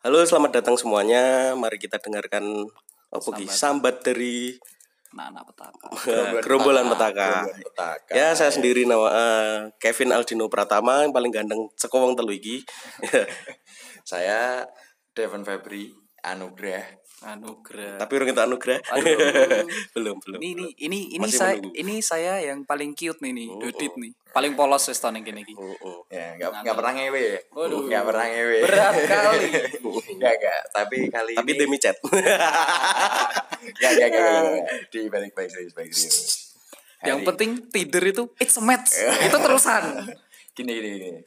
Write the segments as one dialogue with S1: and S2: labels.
S1: Halo, selamat datang semuanya. Mari kita dengarkan apa ki? Sambat dari
S2: Nah, anak petaka.
S1: eh, gerombolan petaka.
S3: Gerombolan petaka.
S1: Ya, saya sendiri nama eh, Kevin Aldino Pratama yang paling ganteng sekowong telu iki.
S3: Saya Devon Febri Anugrah.
S2: Anugerah.
S1: Tapi urung kita anugerah.
S2: Aduh.
S1: belum, belum.
S2: Ini ini ini ini
S1: Masih
S2: saya
S1: menunggu.
S2: ini saya yang paling cute nih nih, Dodit nih. Paling polos wis tahun yang kene iki.
S1: Oh, oh.
S3: Ya, nggak nggak pernah ngewe. ya?
S2: Waduh.
S3: Nggak pernah ngewe.
S2: Berat kali.
S3: Nggak nggak. Tapi kali
S1: Tapi
S3: ini.
S1: demi chat.
S3: Nggak nggak nggak, nggak, nggak. Di balik balik serius balik serius.
S2: Yang
S3: Hari-
S2: penting tidur itu it's a match. itu terusan.
S3: Gini gini gini.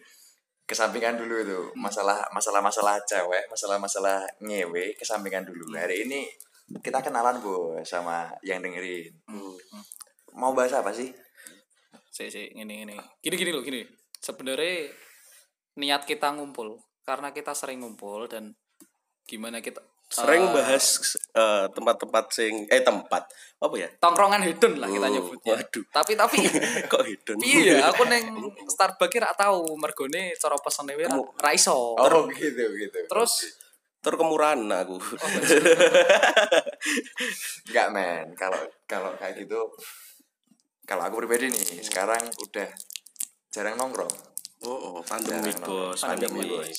S3: Kesampingan dulu itu masalah masalah masalah cewek, masalah masalah ngewe. Kesampingan
S2: Hmm.
S3: dulu. Hari ini kita kenalan bu sama yang dengerin.
S2: Hmm,
S3: Mau bahas apa sih?
S2: Si si ini ini. Gini gini loh gini. Sebenarnya niat kita ngumpul karena kita sering ngumpul dan gimana kita
S1: Sering
S2: eh,
S1: bahas eh, tempat-tempat sing eh tempat. Apa ya?
S2: tongkrongan hedon lah
S1: Oh,
S2: kita nyebutnya.
S1: waduh.
S2: Tapi tapi
S1: Kok hidun?
S2: iya aku neng Starbucks ra tau mergone cara pesene wae ra ra iso.
S3: Oh gitu gitu.
S2: Terus
S1: Tur kemurahan aku.
S3: Enggak men, kalau kalau kayak gitu kalau aku pribadi nih sekarang udah jarang nongkrong.
S1: Oh, oh, pandemi
S3: Jangan,
S1: bos,
S2: pandemi.
S1: pandemi.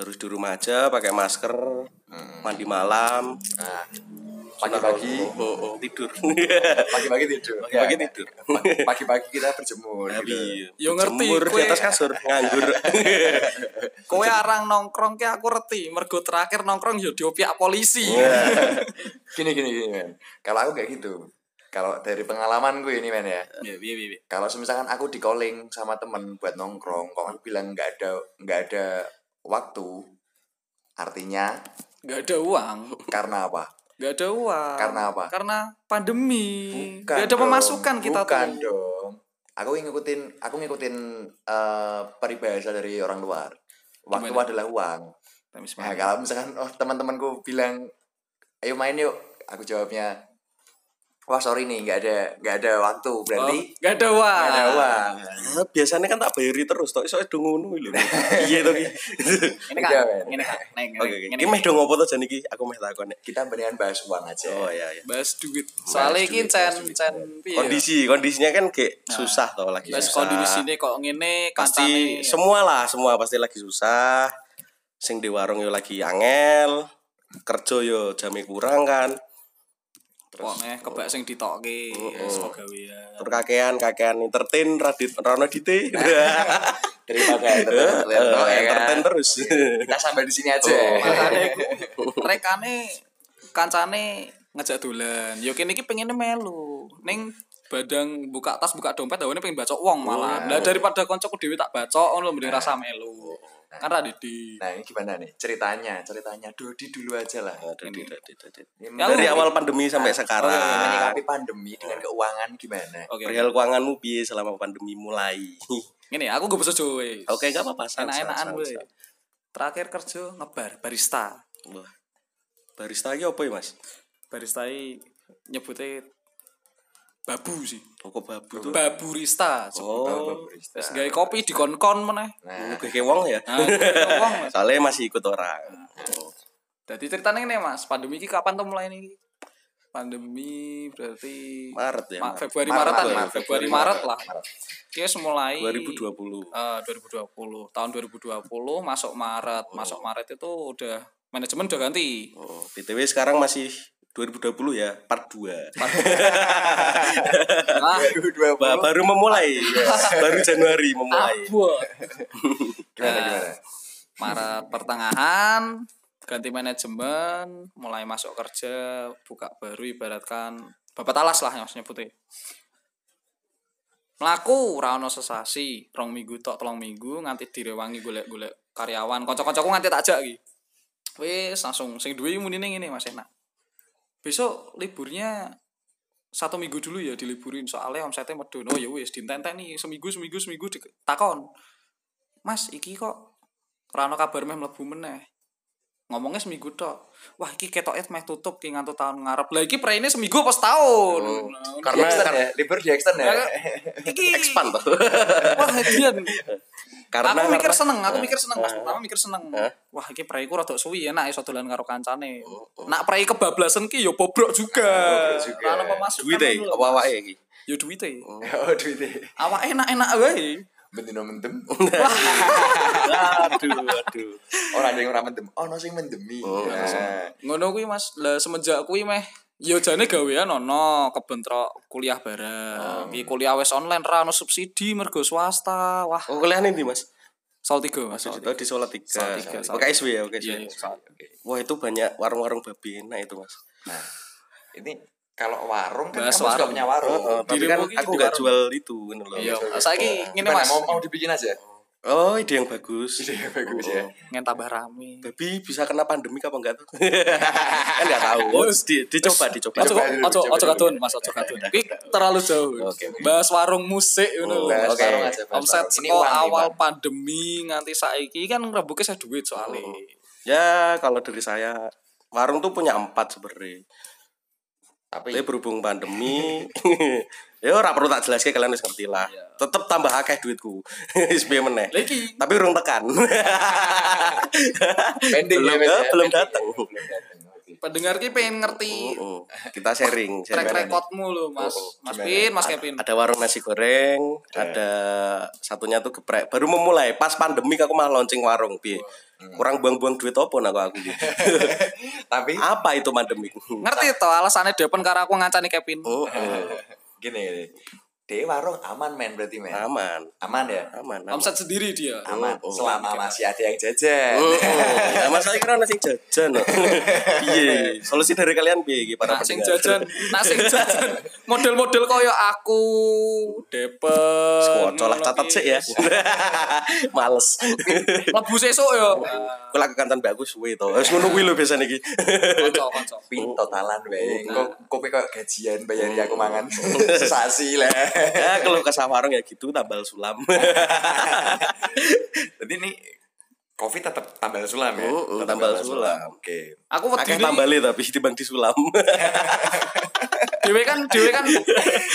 S1: Harus di rumah aja, pakai masker, mandi malam,
S3: Nah, pagi-pagi
S1: oh, oh, tidur.
S3: pagi-pagi tidur.
S1: Pagi-pagi
S3: Ya,
S1: tidur.
S3: pa- Pagi-pagi kita berjemur gitu.
S1: Tapi
S2: Yo ngerti,
S1: jemur di
S2: kue-
S1: atas kasur, nganggur.
S2: Kowe arang nongkrong ki aku reti, mergo terakhir nongkrong yo diopiak polisi.
S3: Gini gini gini men. Kalau aku kayak gitu. Kalau dari pengalaman gue ini men ya.
S2: Iya, iya, iya.
S3: Kalau misalkan aku di calling sama temen buat nongkrong, kok aku bilang nggak ada nggak ada waktu. Artinya
S2: Gak ada uang,
S3: karena apa?
S2: gak ada uang.
S3: Karena apa?
S2: Karena pandemi.
S3: Bukan
S2: gak Ya, ada
S3: dong,
S2: pemasukan kita
S3: bukan
S2: tuh.
S3: dong aku ngikutin aku ngikutin eh, peribahasa dari orang luar waktu
S2: Gimana?
S3: adalah uang
S2: Tapi
S3: nah,
S2: semangat.
S3: kalau misalkan oh, teman-temanku bilang ayo main yuk aku jawabnya wah sorry nih nggak ada nggak ada waktu berarti
S2: Oh, gak ada uang.
S3: nggak ada uang
S1: Ah, biasanya kan tak bayari terus, tok iso do ngono lho. Iya to ki.
S2: Ini kan,
S3: Iya, men.
S2: ini kan, neng, neng,
S1: Oke, oke.
S2: neng.
S1: Ki meh do ngopo to jan iki? Aku meh takon. nek.
S3: kita mendingan bahas uang aja
S1: Oh iya iya.
S2: Bahas duit. Soalnya
S3: duit,
S2: ki
S3: bahas
S2: cen
S3: duit.
S2: cen piye ya?
S1: Kondisi, kondisinya kan kayak susah to lagi.
S2: Bahas
S1: susah.
S2: kondisi kok ngene
S1: pasti
S2: kancane.
S1: semua lah, semua pasti lagi susah. Sing di warung yo lagi angel, kerja yo jame kurang kan.
S2: Pokoknya eh, kebak sing ditokke,
S3: Oh,
S2: wis kok gawean.
S1: Tur kakean, kakean entertain, radit, rano dite.
S3: daripada entertain entertain
S2: Oh,
S3: toh,
S2: iya.
S3: ya kan?
S1: entertain terus.
S3: kita sampai di sini aja
S2: Makane ku- rekane kancane ngejak dolan. Yo kene iki pengene melu. Ning badang buka tas buka dompet dawane pengen bacok wong
S1: Oh,
S2: malah.
S1: iya.
S2: Lah daripada koncoku dhewe tak bacok ngono lho mending rasa melu. Kan ra didi.
S3: nah ini gimana nih ceritanya ceritanya Dodi dulu aja lah
S2: Oh,
S1: Radit, radit, radit.
S3: Ini oh,
S1: Dari awal pandemi sampai
S2: iya,
S1: sekarang.
S3: menyikapi pandemi dengan keuangan gimana
S2: Oke.
S1: Perihal keuanganmu piye selama pandemi mulai?
S2: Ngene aku gak bisa jowe.
S1: Oke, nggak apa-apa. sans,
S2: Enak-enakan
S1: sans, sans,
S2: gue.
S1: sans.
S2: Terakhir kerja ngebar barista.
S1: Wah. Barista iki apa ya, Mas?
S2: Barista iki nyebutnya babu sih.
S1: Kok babu tuh?
S2: Baburista.
S1: Oh.
S2: Terus gawe kopi dikon-kon meneh.
S3: Nah,
S1: Kayak wong ya.
S2: Nah, kira wong Mas.
S1: Soalnya masih ikut orang. Oh.
S2: Jadi ceritanya ini mas, pandemi ini kapan tuh mulai ini? Pandemi berarti
S1: Maret ya,
S2: Ma-
S1: Maret.
S2: Februari
S3: Maret,
S2: Maretan ya,
S3: Maret, Maret,
S2: Februari
S3: Februari,
S2: Maret,
S3: Maret.
S2: lah. Dia mulai
S1: 2020.
S2: Eh, 2020. Tahun 2020 masuk Maret, masuk Maret itu udah manajemen udah ganti.
S1: Oh, PTW sekarang masih 2020 ya, part 2.
S2: Nah,
S3: 2020
S1: baru memulai. ya. baru Januari memulai.
S2: abot.
S3: gimana
S2: Nah,
S3: gimana?
S2: Maret pertengahan ganti manajemen, mulai masuk kerja, buka baru ibaratkan babat alas lah maksudnya putih. Melaku rano sesasi, rong minggu tok telung minggu nganti direwangi golek-golek karyawan, kanca-kancaku nganti tak ajak iki. Wis langsung sing duwe muni ning ngene Mas enak. Besok liburnya satu minggu dulu ya diliburin soalnya omsetnya medun oh ya wis dintenten nih seminggu seminggu seminggu ditakon mas iki kok rano kabar meh mlebu meneh ngomongnya seminggu tok wah iki ketoknya meh tutup ki ngantuk tahun ngarep lah iki pre ini seminggu pas tahun
S3: Oh.
S2: Nah,
S3: Karena
S1: Karena-
S3: extend ya, libur di extend ya.
S2: Karena- iki
S1: Expand tuh.
S2: wah iya. hadian
S1: karena
S2: aku mikir
S1: karena-
S2: seneng aku mikir seneng pas
S1: Eh.
S2: pertama mikir seneng
S1: Eh.
S2: wah iki pre iku rada suwi enak iso dolan karo kancane
S1: Oh, oh.
S2: nak pre kebablasan ki yo bobrok juga
S3: Bobrok juga.
S2: Lah, apa masuk
S1: duit ya? deh, apa
S2: ya,
S1: awake iki?
S2: yo duwite
S3: Oh, duitnya.
S2: awak enak-enak wae
S3: Bendino mendem.
S1: Aduh, aduh.
S3: Orang ada yang ora mendem. Ono sing mendemi.
S1: Oh, ono
S3: Nah,
S1: sing
S2: ngono kuwi Mas lah semenjak kuwi meh ya jane gawean ono kebentrok kuliah
S1: Oh.
S2: bareng Ki kuliah wes online ra ono subsidi mergo swasta wah
S1: Oh, kuliah nih, Mas.
S2: Sol 3 Mas Sol
S1: Oh, di Solo
S2: Solo
S1: tiga.
S2: tiga, Solo
S1: Oke, SW ya, oke.
S2: Iya,
S1: SW.
S2: iya, Sol.
S1: Wah, itu banyak warung-warung babi enak itu, Mas.
S3: Nah, ini kalau warung kan
S2: Bahas
S3: kamu juga
S2: warung.
S3: punya warung.
S1: Oh, oh, tapi kan
S2: Dirimu ki
S1: aku
S2: di
S1: gak
S2: warung.
S1: jual itu, ngono
S2: Iya,
S1: loh.
S2: saiki ngene
S3: Gimana,
S2: Mas,
S3: mau mau dibikin aja.
S1: Oh, ide yang bagus.
S3: Ide yang bagus ya.
S2: ngen tambah rame.
S1: Babi bisa kena pandemi apa enggak tuh? kan enggak tahu. Terus di- dicoba, dicoba.
S2: Ojo
S3: Coba dulu,
S2: ojo
S3: coba
S2: ojo
S3: dulu.
S2: katun Mas ojo katun. Kuwi terlalu jauh.
S1: Oke.
S2: Bahas warung musik
S1: Oh,
S2: ngono lho.
S1: bahas
S2: Oke.
S1: warung
S3: aja, bahas
S2: Omset
S3: warung. Ini
S2: seko
S3: uang, ini
S2: awal
S3: uang.
S2: pandemi nganti saiki kan rebuke saya duit soalnya.
S1: Oh. Ya, kalau dari saya warung tuh punya empat sebenarnya.
S3: Tapi
S1: Tapi berhubung pandemi, ya ora perlu tak jelaske kalian wis ngerti lah. Tetep tambah akeh duitku. Wis piye meneh.
S2: Lah iki
S1: Tapi urung tekan.
S3: pending
S1: belum eh,
S3: ya, Mas, ya.
S1: belum
S3: Pending.
S1: datang.
S3: Belum datang, oke.
S2: pendengar ki pengen ngerti
S1: Oh, oh. Kita sharing, sharing.
S2: track recordmu lo mas
S3: Oh, oh.
S2: mas
S3: Gimana?
S2: Pin mas Kevin
S1: Ada warung nasi goreng, ada satunya tuh geprek. Baru memulai pas pandemi aku malah launching warung, piye. Kurang buang-buang duit opo nak aku.
S3: Tapi
S1: Apa itu pandemi?
S2: ngerti toh alasannya Depen karena aku ngancani Kevin
S1: Oh, oh.
S3: gini gini. Di warung aman men berarti men.
S1: aman,
S3: Aman ya?
S1: aman. aman.
S2: omset sendiri dia
S3: Aman.
S1: Ah. Oh, oh.
S3: Selama masih ada yang jajan.
S1: Oh, ya, mas saya kira nasi jajan loh. Iya, solusi dari kalian piye iki para
S2: nah sing
S1: pendengar?
S2: jajan nah sing jajan model-model koyo aku Depen
S1: Skocol lah catat sih ya. Males.
S2: lebu sesuk yo Nah,
S1: Aku lagi kantan mbakku suwe to. Wis ngono kuwi lho biasane iki.
S2: kocok kocok
S3: Tapi
S1: oh.
S3: totalan wae.
S1: nah.
S3: Kok kopi kok gajian bayar aku mangan.
S1: oh,
S3: Sensasi lah.
S1: Ya kalau ke warung ya gitu tambal sulam.
S3: Jadi ini Covid tetap tambal sulam ya.
S1: Oh, oh,
S3: Tetap
S1: tambal sulam.
S3: Oke.
S2: aku
S1: Akeh
S2: wedine
S1: tambale tapi dibanding disulam.
S2: dhewe kan dhewe kan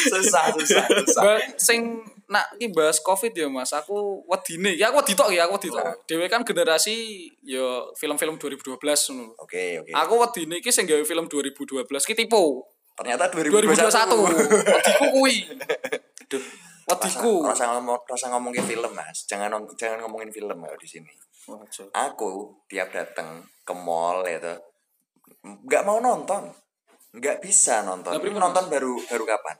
S3: Susah, susah, susah.
S2: ba- sing nak ki bahas covid ya mas aku wedine ya aku wedi tok ya aku wedi tok dhewe kan generasi yo film-film 2012 ngono
S3: Oke, oke.
S2: Aku wedine iki sing gawe film 2012 ki tipu.
S3: Ternyata
S2: 2021.
S3: 2021.
S2: Wediku kuwi.
S3: Duh,
S2: Wediku.
S3: Rasa, rasa ngomong rasa ngomongin film mas, jangan ngom- jangan ngomongin film kalau di sini. Aku tiap datang ke mall ya toh, nggak mau nonton, nggak bisa nonton.
S2: Lah, pripun,
S3: nonton baru baru kapan?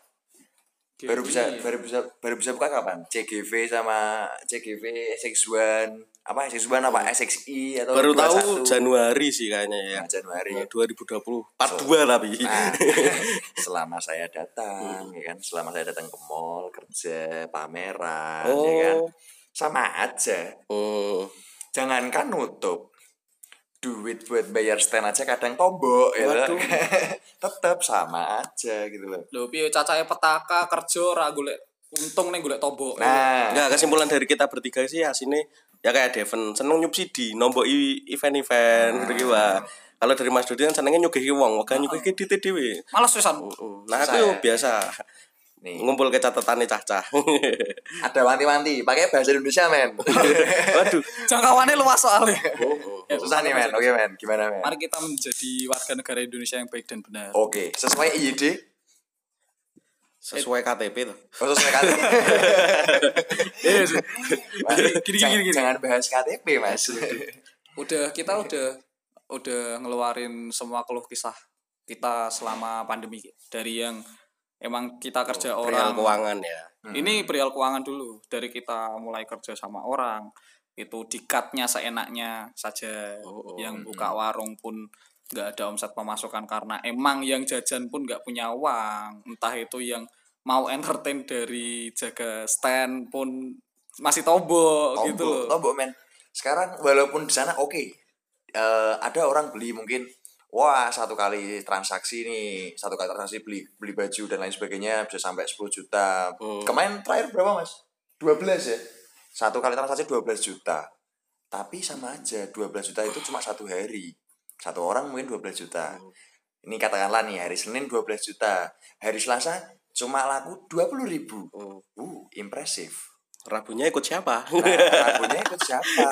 S3: Baru bisa baru bisa baru bisa buka kapan? CGV sama CGV SX1 apa SX1 apa SXI atau
S1: Baru
S3: 21?
S1: tahu Januari sih kayaknya ya.
S2: Ah,
S3: Nah, Januari.
S1: Ya, 2020 part 2 tapi.
S3: Nah, selama saya datang, ya kan, selama saya datang ke mall kerja pameran, ya kan,
S1: Oh.
S3: sama aja.
S1: Oh.
S3: Jangankan nutup, duit buat bayar stand aja kadang tombok, ya
S1: Waduh.
S3: tetap sama aja gitu loh.
S2: Lho piye cacahe petaka kerja ora golek untung ning golek tombok. iya.
S3: Nah,
S1: Enggak kesimpulan dari kita bertiga sih ya sini ya kayak Devon seneng nyubsidi nombok i- event-event gitu gitu wah. Kalau dari Mas Dodi kan senengnya nyugihi wong, wong nyugihi dite dhewe.
S2: Males pisan.
S1: Nah, aku
S3: Susah
S1: yo
S3: ya.
S1: biasa
S3: nih
S1: ngumpul ke catatane cah-cah.
S3: ada wanti-wanti, pakai bahasa Indonesia men.
S2: Oh,
S1: Waduh.
S2: Jangkauannya luas soalnya. oh.
S3: Susah nih men, oke men, gimana men?
S2: Mari kita menjadi warga negara Indonesia yang baik dan benar.
S3: Oke, sesuai IID,
S1: Sesuai KTP tuh.
S3: oh, sesuai KTP.
S2: Iya sih.
S3: Mas,
S2: Gini,
S3: jangan-
S2: gini, gini.
S3: Jangan bahas KTP mas.
S2: Udah kita udah udah ngeluarin semua keluh kisah kita selama pandemi dari yang emang kita kerja
S1: Perihal
S2: orang
S1: keuangan ya.
S2: Ini perihal keuangan dulu dari kita mulai kerja sama orang itu dikatnya seenaknya saja
S1: Oh,
S2: yang
S1: hmm,
S2: buka warung pun nggak ada omset pemasukan karena emang yang jajan pun nggak punya uang entah itu yang mau entertain dari jaga stand pun masih tobo
S3: tombok,
S2: gitu loh
S3: tombok Oh, men sekarang walaupun di sana oke Eh, ada orang beli mungkin wah satu kali transaksi nih satu kali transaksi beli beli baju dan lain sebagainya bisa sampai 10 juta
S1: Hmm.
S3: kemarin terakhir berapa mas 12 ya satu kali transaksi 12 juta tapi sama aja 12 juta itu cuma satu hari satu orang mungkin 12 juta ini katakanlah nih hari Senin 12 juta hari Selasa cuma laku 20 ribu
S1: Oh.
S3: uh impresif
S1: Rabunya ikut siapa?
S3: nah, Rabunya ikut siapa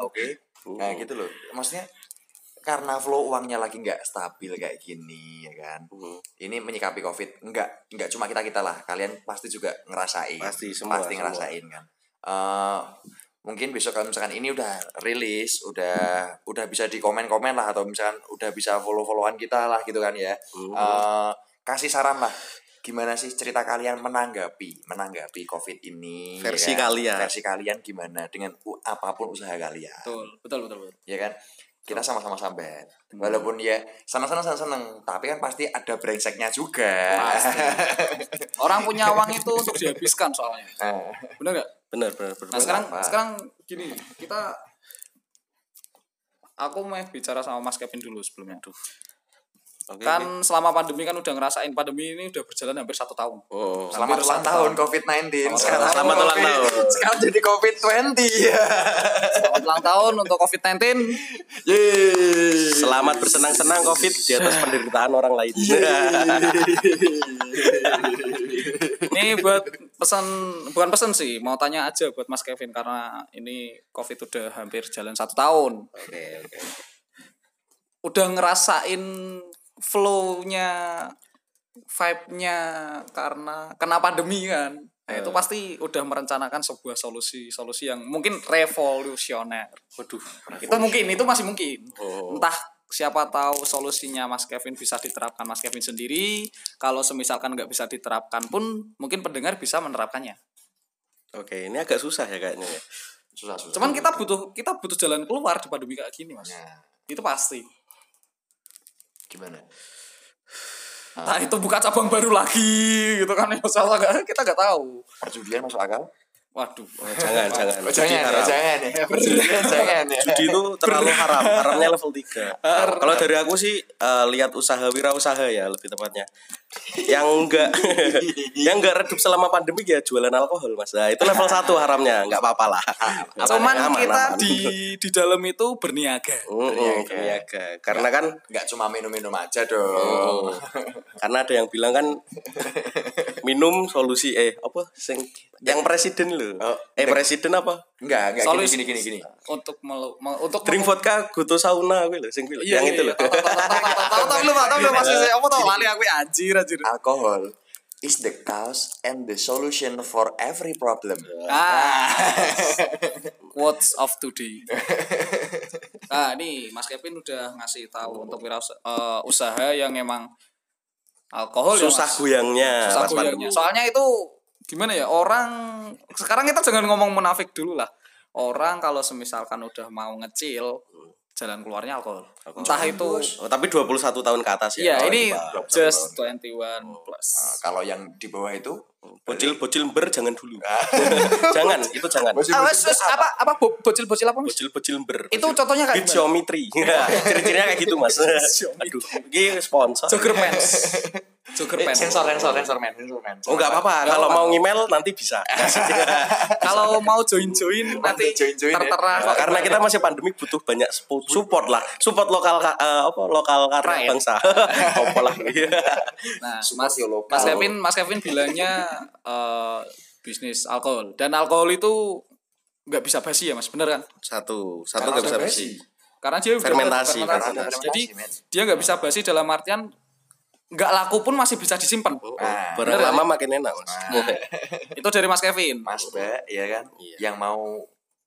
S3: oke
S1: Hmm.
S3: nah gitu loh maksudnya karena flow uangnya lagi nggak stabil kayak gini ya kan
S1: Hmm.
S3: ini menyikapi covid nggak nggak cuma kita kita lah kalian pasti juga ngerasain
S1: Pasti, semua,
S3: pasti
S1: semua.
S3: ngerasain kan Eh, mungkin besok kalau misalkan ini udah rilis udah udah bisa di komen komen lah atau misalkan udah bisa follow followan kita lah gitu kan ya
S1: Hmm.
S3: Eh, kasih saran lah gimana sih cerita kalian menanggapi menanggapi covid ini ya
S1: Versi
S3: kan?
S1: kalian.
S3: versi kalian gimana dengan u- apapun usaha kalian
S2: betul betul betul, betul.
S3: ya kan kita sama-sama sambat walaupun ya sama-sama seneng tapi kan pasti ada brengseknya juga
S2: orang punya uang itu untuk dihabiskan soalnya
S3: Eh,
S2: bener nggak
S1: Bener bener bener.
S2: nah sekarang
S3: apa?
S2: sekarang gini kita aku mau bicara sama Mas Kevin dulu sebelumnya
S1: Oke,
S2: kan
S1: oke.
S2: selama pandemi kan udah ngerasain pandemi ini udah berjalan hampir satu tahun
S1: Oh.
S3: selamat
S2: Hampir
S3: ulang
S2: satu
S3: tahun COVID-19 sekarang
S1: Selamat ulang
S3: COVID-
S1: tahun.
S3: sekarang jadi COVID-20 ya
S2: Selamat ulang tahun untuk COVID-19
S3: Yeay.
S1: Selamat bersenang-senang COVID di atas penderitaan orang lain.
S2: ini buat pesan bukan pesan sih mau tanya aja buat Mas Kevin karena ini COVID udah hampir jalan satu tahun
S1: Oke oke.
S2: udah ngerasain flow-nya vibe-nya karena kena pandemi kan nah,
S1: Eh.
S2: itu pasti udah merencanakan sebuah solusi solusi yang mungkin revolusioner
S1: Waduh.
S2: itu mungkin itu masih mungkin
S1: Oh.
S2: entah siapa tahu solusinya Mas Kevin bisa diterapkan Mas Kevin sendiri kalau semisalkan nggak bisa diterapkan pun mungkin pendengar bisa menerapkannya
S1: Oke, ini agak susah ya kayaknya. ya.
S3: susah susah
S2: cuman kita butuh kita butuh jalan keluar di pandemi kayak gini mas
S1: Ya.
S3: Nah,
S2: itu pasti
S3: gimana
S1: Ah.
S2: nah itu buka cabang baru lagi gitu kan ya salah nggak kita nggak tahu
S3: perjudian masuk akal
S2: waduh
S1: Jangan jangan.
S3: Oh,
S1: Judi
S3: jangan ya
S1: haram.
S3: jangan ya perjudian jangan ya
S1: Judi itu terlalu haram. Haramnya level 3 Kalau dari aku sih eh, lihat usaha wirausaha ya lebih tepatnya. Yang enggak yang enggak redup selama pandemi ya jualan alkohol Mas. Nah, itu level 1 haramnya, enggak apa-apa lah.
S2: cuman
S1: Aman,
S2: kita
S1: aman.
S2: di di dalam itu berniaga
S1: Mm, mm, berniaga. Karena kan
S3: nggak cuma minum-minum aja dong
S1: karena ada yang bilang kan minum solusi eh apa sing yang presiden lho.
S3: Oh,
S1: eh presiden apa?
S3: nggak nggak
S2: Solusi-
S3: gini gini gini, gini.
S2: untuk melu- me- untuk
S1: Drink vodka goto sauna kuwi lho sing kuwi lho.
S2: Iya,
S1: yang
S2: iya,
S1: itu lho.
S2: iya. Tahu, tahu, tahu, tahu, tahu, tahu, tahu, tahu, tahu, tahu, maksud saya. Apa tahu, lali aku ya, anjir anjir
S3: alkohol is the cause and the solution for every problem.
S2: Ah. Quotes of today. Nah, nih Mas Kevin udah ngasih tahu untuk wirausaha eh, usaha yang emang alkohol ya,
S1: Susah
S2: Mas.
S1: guyangnya
S2: Susah
S1: Mas
S2: goyangnya.
S1: Pandu.
S2: ya, Soalnya itu gimana ya? Orang sekarang kita jangan ngomong munafik dulu lah. Orang kalau semisalkan udah mau ngecil jalan keluarnya alkohol. Entah itu
S1: Oh, tapi 21 tahun ke atas ya.
S2: Iya,
S1: Oh,
S2: ini
S1: Pak.
S2: just 21 plus.
S3: Nah, kalau yang di bawah itu
S1: bocil bocil ber jangan dulu. jangan, itu jangan.
S2: Ah, wes, wes, apa apa bo- bocil-bocil apa? Mas?
S1: Bocil bocil ber.
S2: Itu contohnya kayak gimana?
S1: Geometri. Ciri-cirinya kayak gitu, Mas. Aduh, ini sponsor.
S2: Joker pants. Joker pants.
S3: sensor sensor sensor men sensor men.
S1: Oh, enggak apa-apa. Kalau mau ngemail nanti bisa.
S2: Kalau mau join-join nanti
S3: join-join ya.
S2: tertera.
S1: Nah, karena kita masih pandemi butuh banyak spo- support lah. Support lokal ka- eh, apa lokal
S2: Rakyat.
S1: karya bangsa. Apa lah. Iya.
S2: Nah, Mas,
S3: yo lokal.
S2: Mas Kevin, Mas Kevin bilangnya eh, bisnis alkohol dan alkohol itu nggak bisa basi ya Mas, bener kan?
S1: Satu, satu
S3: Karena
S1: nggak bisa
S3: ada
S1: basi.
S2: Karena dia udah
S1: Fermentasi,
S3: fermentasi.
S2: Jadi
S3: Fermentasi, men.
S2: dia nggak bisa basi dalam artian nggak laku pun masih bisa disimpan.
S3: Nah,
S1: Barang
S2: Bener,
S1: lama makin enak, Mas.
S2: Nah, Itu dari Mas Kevin.
S3: Mas Mbak, ya kan,
S1: Iya.
S3: yang mau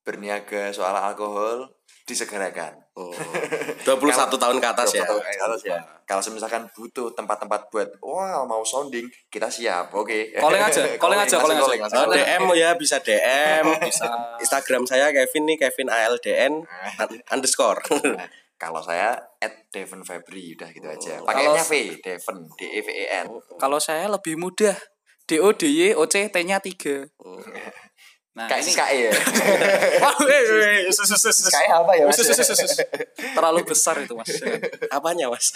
S3: berniaga soal alkohol disegerakan.
S1: Oh. 21 tahun ke atas ya.
S3: 20 tahun ke atas ya. Kalau misalkan butuh tempat-tempat buat, wah mau sounding, kita siap, oke.
S2: Calling aja, calling aja,
S3: masih
S2: calling aja.
S3: masih
S1: Oh,
S2: Ada-
S1: DM oh ya bisa DM bisa Instagram saya Kevin nih Kevin ALDN un- underscore
S3: Nah, kalau saya at Devon Febri udah gitu aja.
S1: Oh.
S3: Pakainya V, Devon, D E V E N.
S2: Kalau saya lebih mudah. D O D Y O C T-nya 3. Nah,
S3: Oh. Kayak
S2: ini-
S3: SKE ya.
S2: Waduh, eh, eh, eh, sus, sus, sus, sus.
S3: SKE apa ya? Mas?
S2: Sus, sus, sus, sus. Terlalu besar itu mas
S1: apanya mas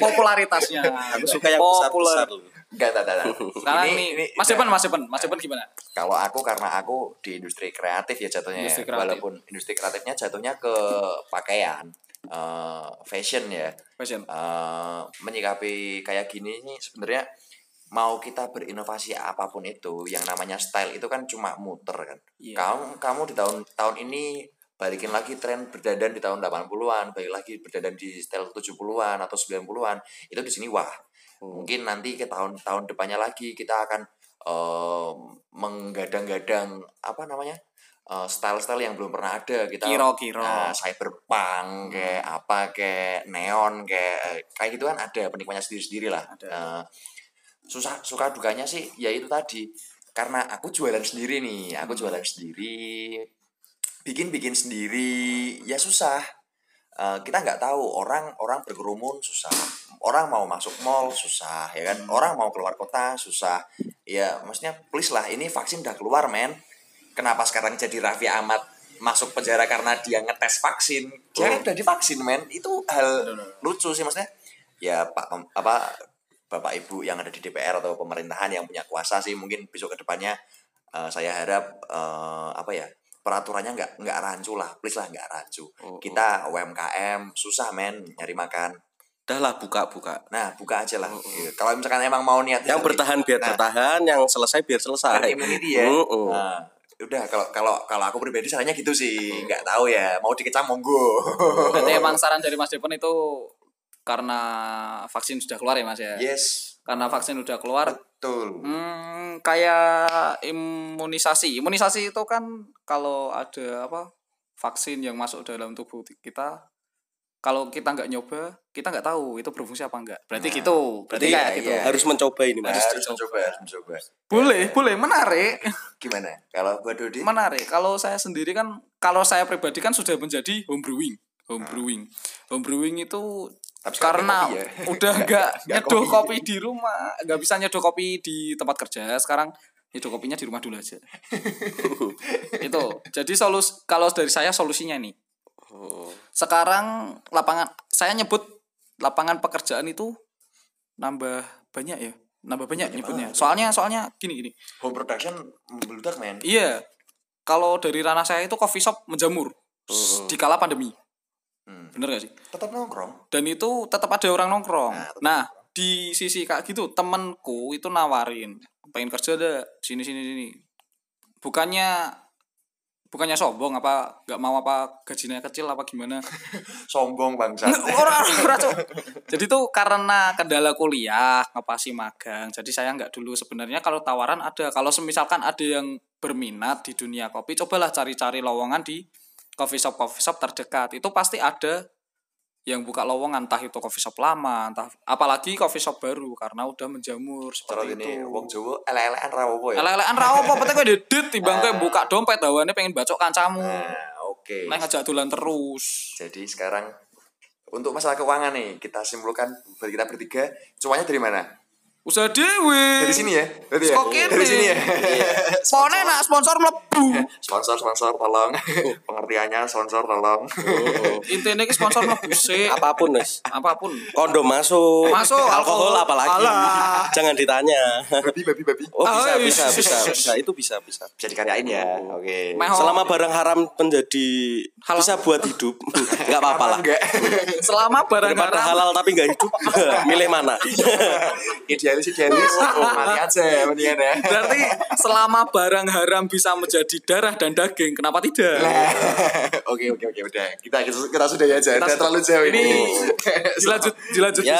S2: Popularitasnya
S1: aku suka yang besar besar
S3: Enggak, enggak, enggak.
S2: Sekarang ini, Mas Depan, Mas Depan, Mas Depan gimana?
S3: kalau aku karena aku di industri kreatif ya jatuhnya ya.
S2: Industri kreatif.
S3: walaupun industri kreatifnya jatuhnya ke pakaian eh, fashion ya
S2: Fashion.
S3: eh, menyikapi kayak gini nih sebenarnya mau kita berinovasi apapun itu yang namanya style itu kan cuma muter kan
S2: Iya.
S3: kamu kamu di tahun tahun ini balikin lagi tren berdandan di tahun 80-an, balik lagi berdandan di style 70-an atau 90-an. Itu di sini wah. Mungkin nanti ke tahun tahun depannya lagi kita akan eh, menggadang-gadang apa namanya? eh, style-style yang belum pernah ada kita
S2: Kiro-kiro.
S3: Nah, cyberpunk kayak apa kayak neon kayak eh, kayak gitu kan ada penikmatnya sendiri-sendiri lah
S2: Ada.
S3: Eh, susah suka dukanya sih ya itu tadi karena aku jualan sendiri nih aku jualan sendiri bikin bikin sendiri ya susah Eh, kita nggak tahu orang orang berkerumun susah orang mau masuk mall susah ya kan orang mau keluar kota susah ya maksudnya please lah ini vaksin udah keluar men kenapa sekarang jadi Raffi Ahmad masuk penjara karena dia ngetes vaksin dia kan udah divaksin men itu hal lucu sih maksudnya ya pak Pem- apa bapak ibu yang ada di DPR atau pemerintahan yang punya kuasa sih mungkin besok kedepannya eh, saya harap eh, apa ya peraturannya nggak nggak rancu lah please lah nggak rancu kita UMKM susah men nyari makan
S1: Dah lah buka-buka.
S3: nah buka aja lah Gitu. kalau misalkan emang mau niat
S1: Yang bertahan biar
S3: Nah.
S1: bertahan, yang selesai biar selesai.
S3: Herd immunity ya.
S1: Mm-mm.
S3: Nah, udah kalau kalau kalau aku pribadi sarannya gitu sih nggak tahu ya mau dikecam monggo
S2: Berarti emang saran dari Mas Depon itu karena vaksin sudah keluar ya Mas ya?
S3: yes
S2: Karena vaksin sudah keluar,
S3: betul
S2: hmm, kayak imunisasi. Imunisasi itu kan kalau ada apa vaksin yang masuk dalam tubuh kita, kalau kita nggak nyoba, kita nggak tahu itu berfungsi apa enggak. Berarti
S3: Nah,
S2: gitu. Berarti
S1: Berarti
S3: iya,
S2: kayak gitu.
S3: iya.
S1: harus mencoba ini mas.
S3: harus,
S2: dicoba.
S3: mencoba harus mencoba
S2: Boleh, boleh, menarik.
S3: gimana kalau buat Dodi
S2: menarik kalau saya sendiri kan kalau saya pribadi kan sudah menjadi home brewing home brewing home brewing itu
S3: Hmm. Tapi sekarang
S2: karena
S3: nggak kopi ya.
S2: udah nggak
S3: nggak
S2: nyeduh
S3: kopi.
S2: kopi. di rumah nggak bisa nyeduh kopi di tempat kerja sekarang nyeduh kopinya di rumah dulu aja itu jadi solus kalau dari saya solusinya nih
S3: Oh.
S2: sekarang lapangan saya nyebut lapangan pekerjaan itu nambah banyak ya nambah banyak nyebutnya soalnya soalnya gini gini
S3: home production membludak men
S2: Iya. Kalau dari ranah saya itu coffee shop menjamur S- di kala pandemi.
S3: Hmm.
S2: Bener gak sih?
S3: tetap nongkrong
S2: Dan itu tetap ada orang nongkrong.
S3: Nah,
S2: Nah,
S3: tetap
S2: di sisi kayak gitu temanku itu nawarin pengen kerja deh sini sini sini. Bukannya bukannya sombong apa nggak mau apa gajinya kecil apa gimana
S3: sombong bangsa
S2: orang orang Cuk. jadi tuh karena kendala kuliah ngapasi magang jadi saya nggak dulu sebenarnya kalau tawaran ada kalau semisalkan ada yang berminat di dunia kopi cobalah cari-cari lowongan di coffee shop coffee shop terdekat itu pasti ada yang buka lowongan entah itu coffee shop lama entah apalagi coffee shop baru karena udah menjamur
S3: Terus
S2: seperti
S3: ini
S2: itu
S3: wong Jawa ele-elean ra apa ya
S2: elek-elekan ra apa penting kowe didit timbang
S3: Ah.
S2: kowe buka dompet dawane pengen bacok kancamu
S3: nah oke
S2: main ngajak dolan terus
S3: jadi sekarang untuk masalah keuangan nih kita simpulkan ber- kita bertiga cuannya dari mana
S2: usaha dewe
S3: dari sini ya Berarti ya?
S2: Saka kene.
S3: dari sini ya
S2: Pone nak sponsor mlebu.
S3: sponsor sponsor tolong pengertiannya sponsor tolong
S2: Intine iki sponsor mlebu sik.
S1: Apapun mas.
S2: Apapun.
S1: Kondom masuk.
S2: Masuk,
S1: Alkohol,
S2: alkohol.
S1: apalagi.
S2: Alah.
S1: Jangan ditanya.
S3: babi babi babi
S1: Oh bisa
S2: Ah,
S1: bisa
S2: is-
S1: bisa bisa itu bisa bisa.
S3: bisa dikaryain ya oke
S2: Meh- Oh.
S1: Selama barang haram menjadi
S2: Halal.
S1: bisa buat hidup, nggak apa-apa lah.
S3: enggak
S2: Selama barang
S1: Daripada
S2: haram
S1: halal tapi nggak hidup, milih mana?
S3: idealis idealis oh, mati aja mendingan ya
S2: berarti selama barang haram bisa menjadi darah dan daging, kenapa tidak?
S3: Lah. oke oke oke udah kita kita sudah ya aja udah terlalu jauh ini
S2: Dilanjut dilanjut.
S1: Ya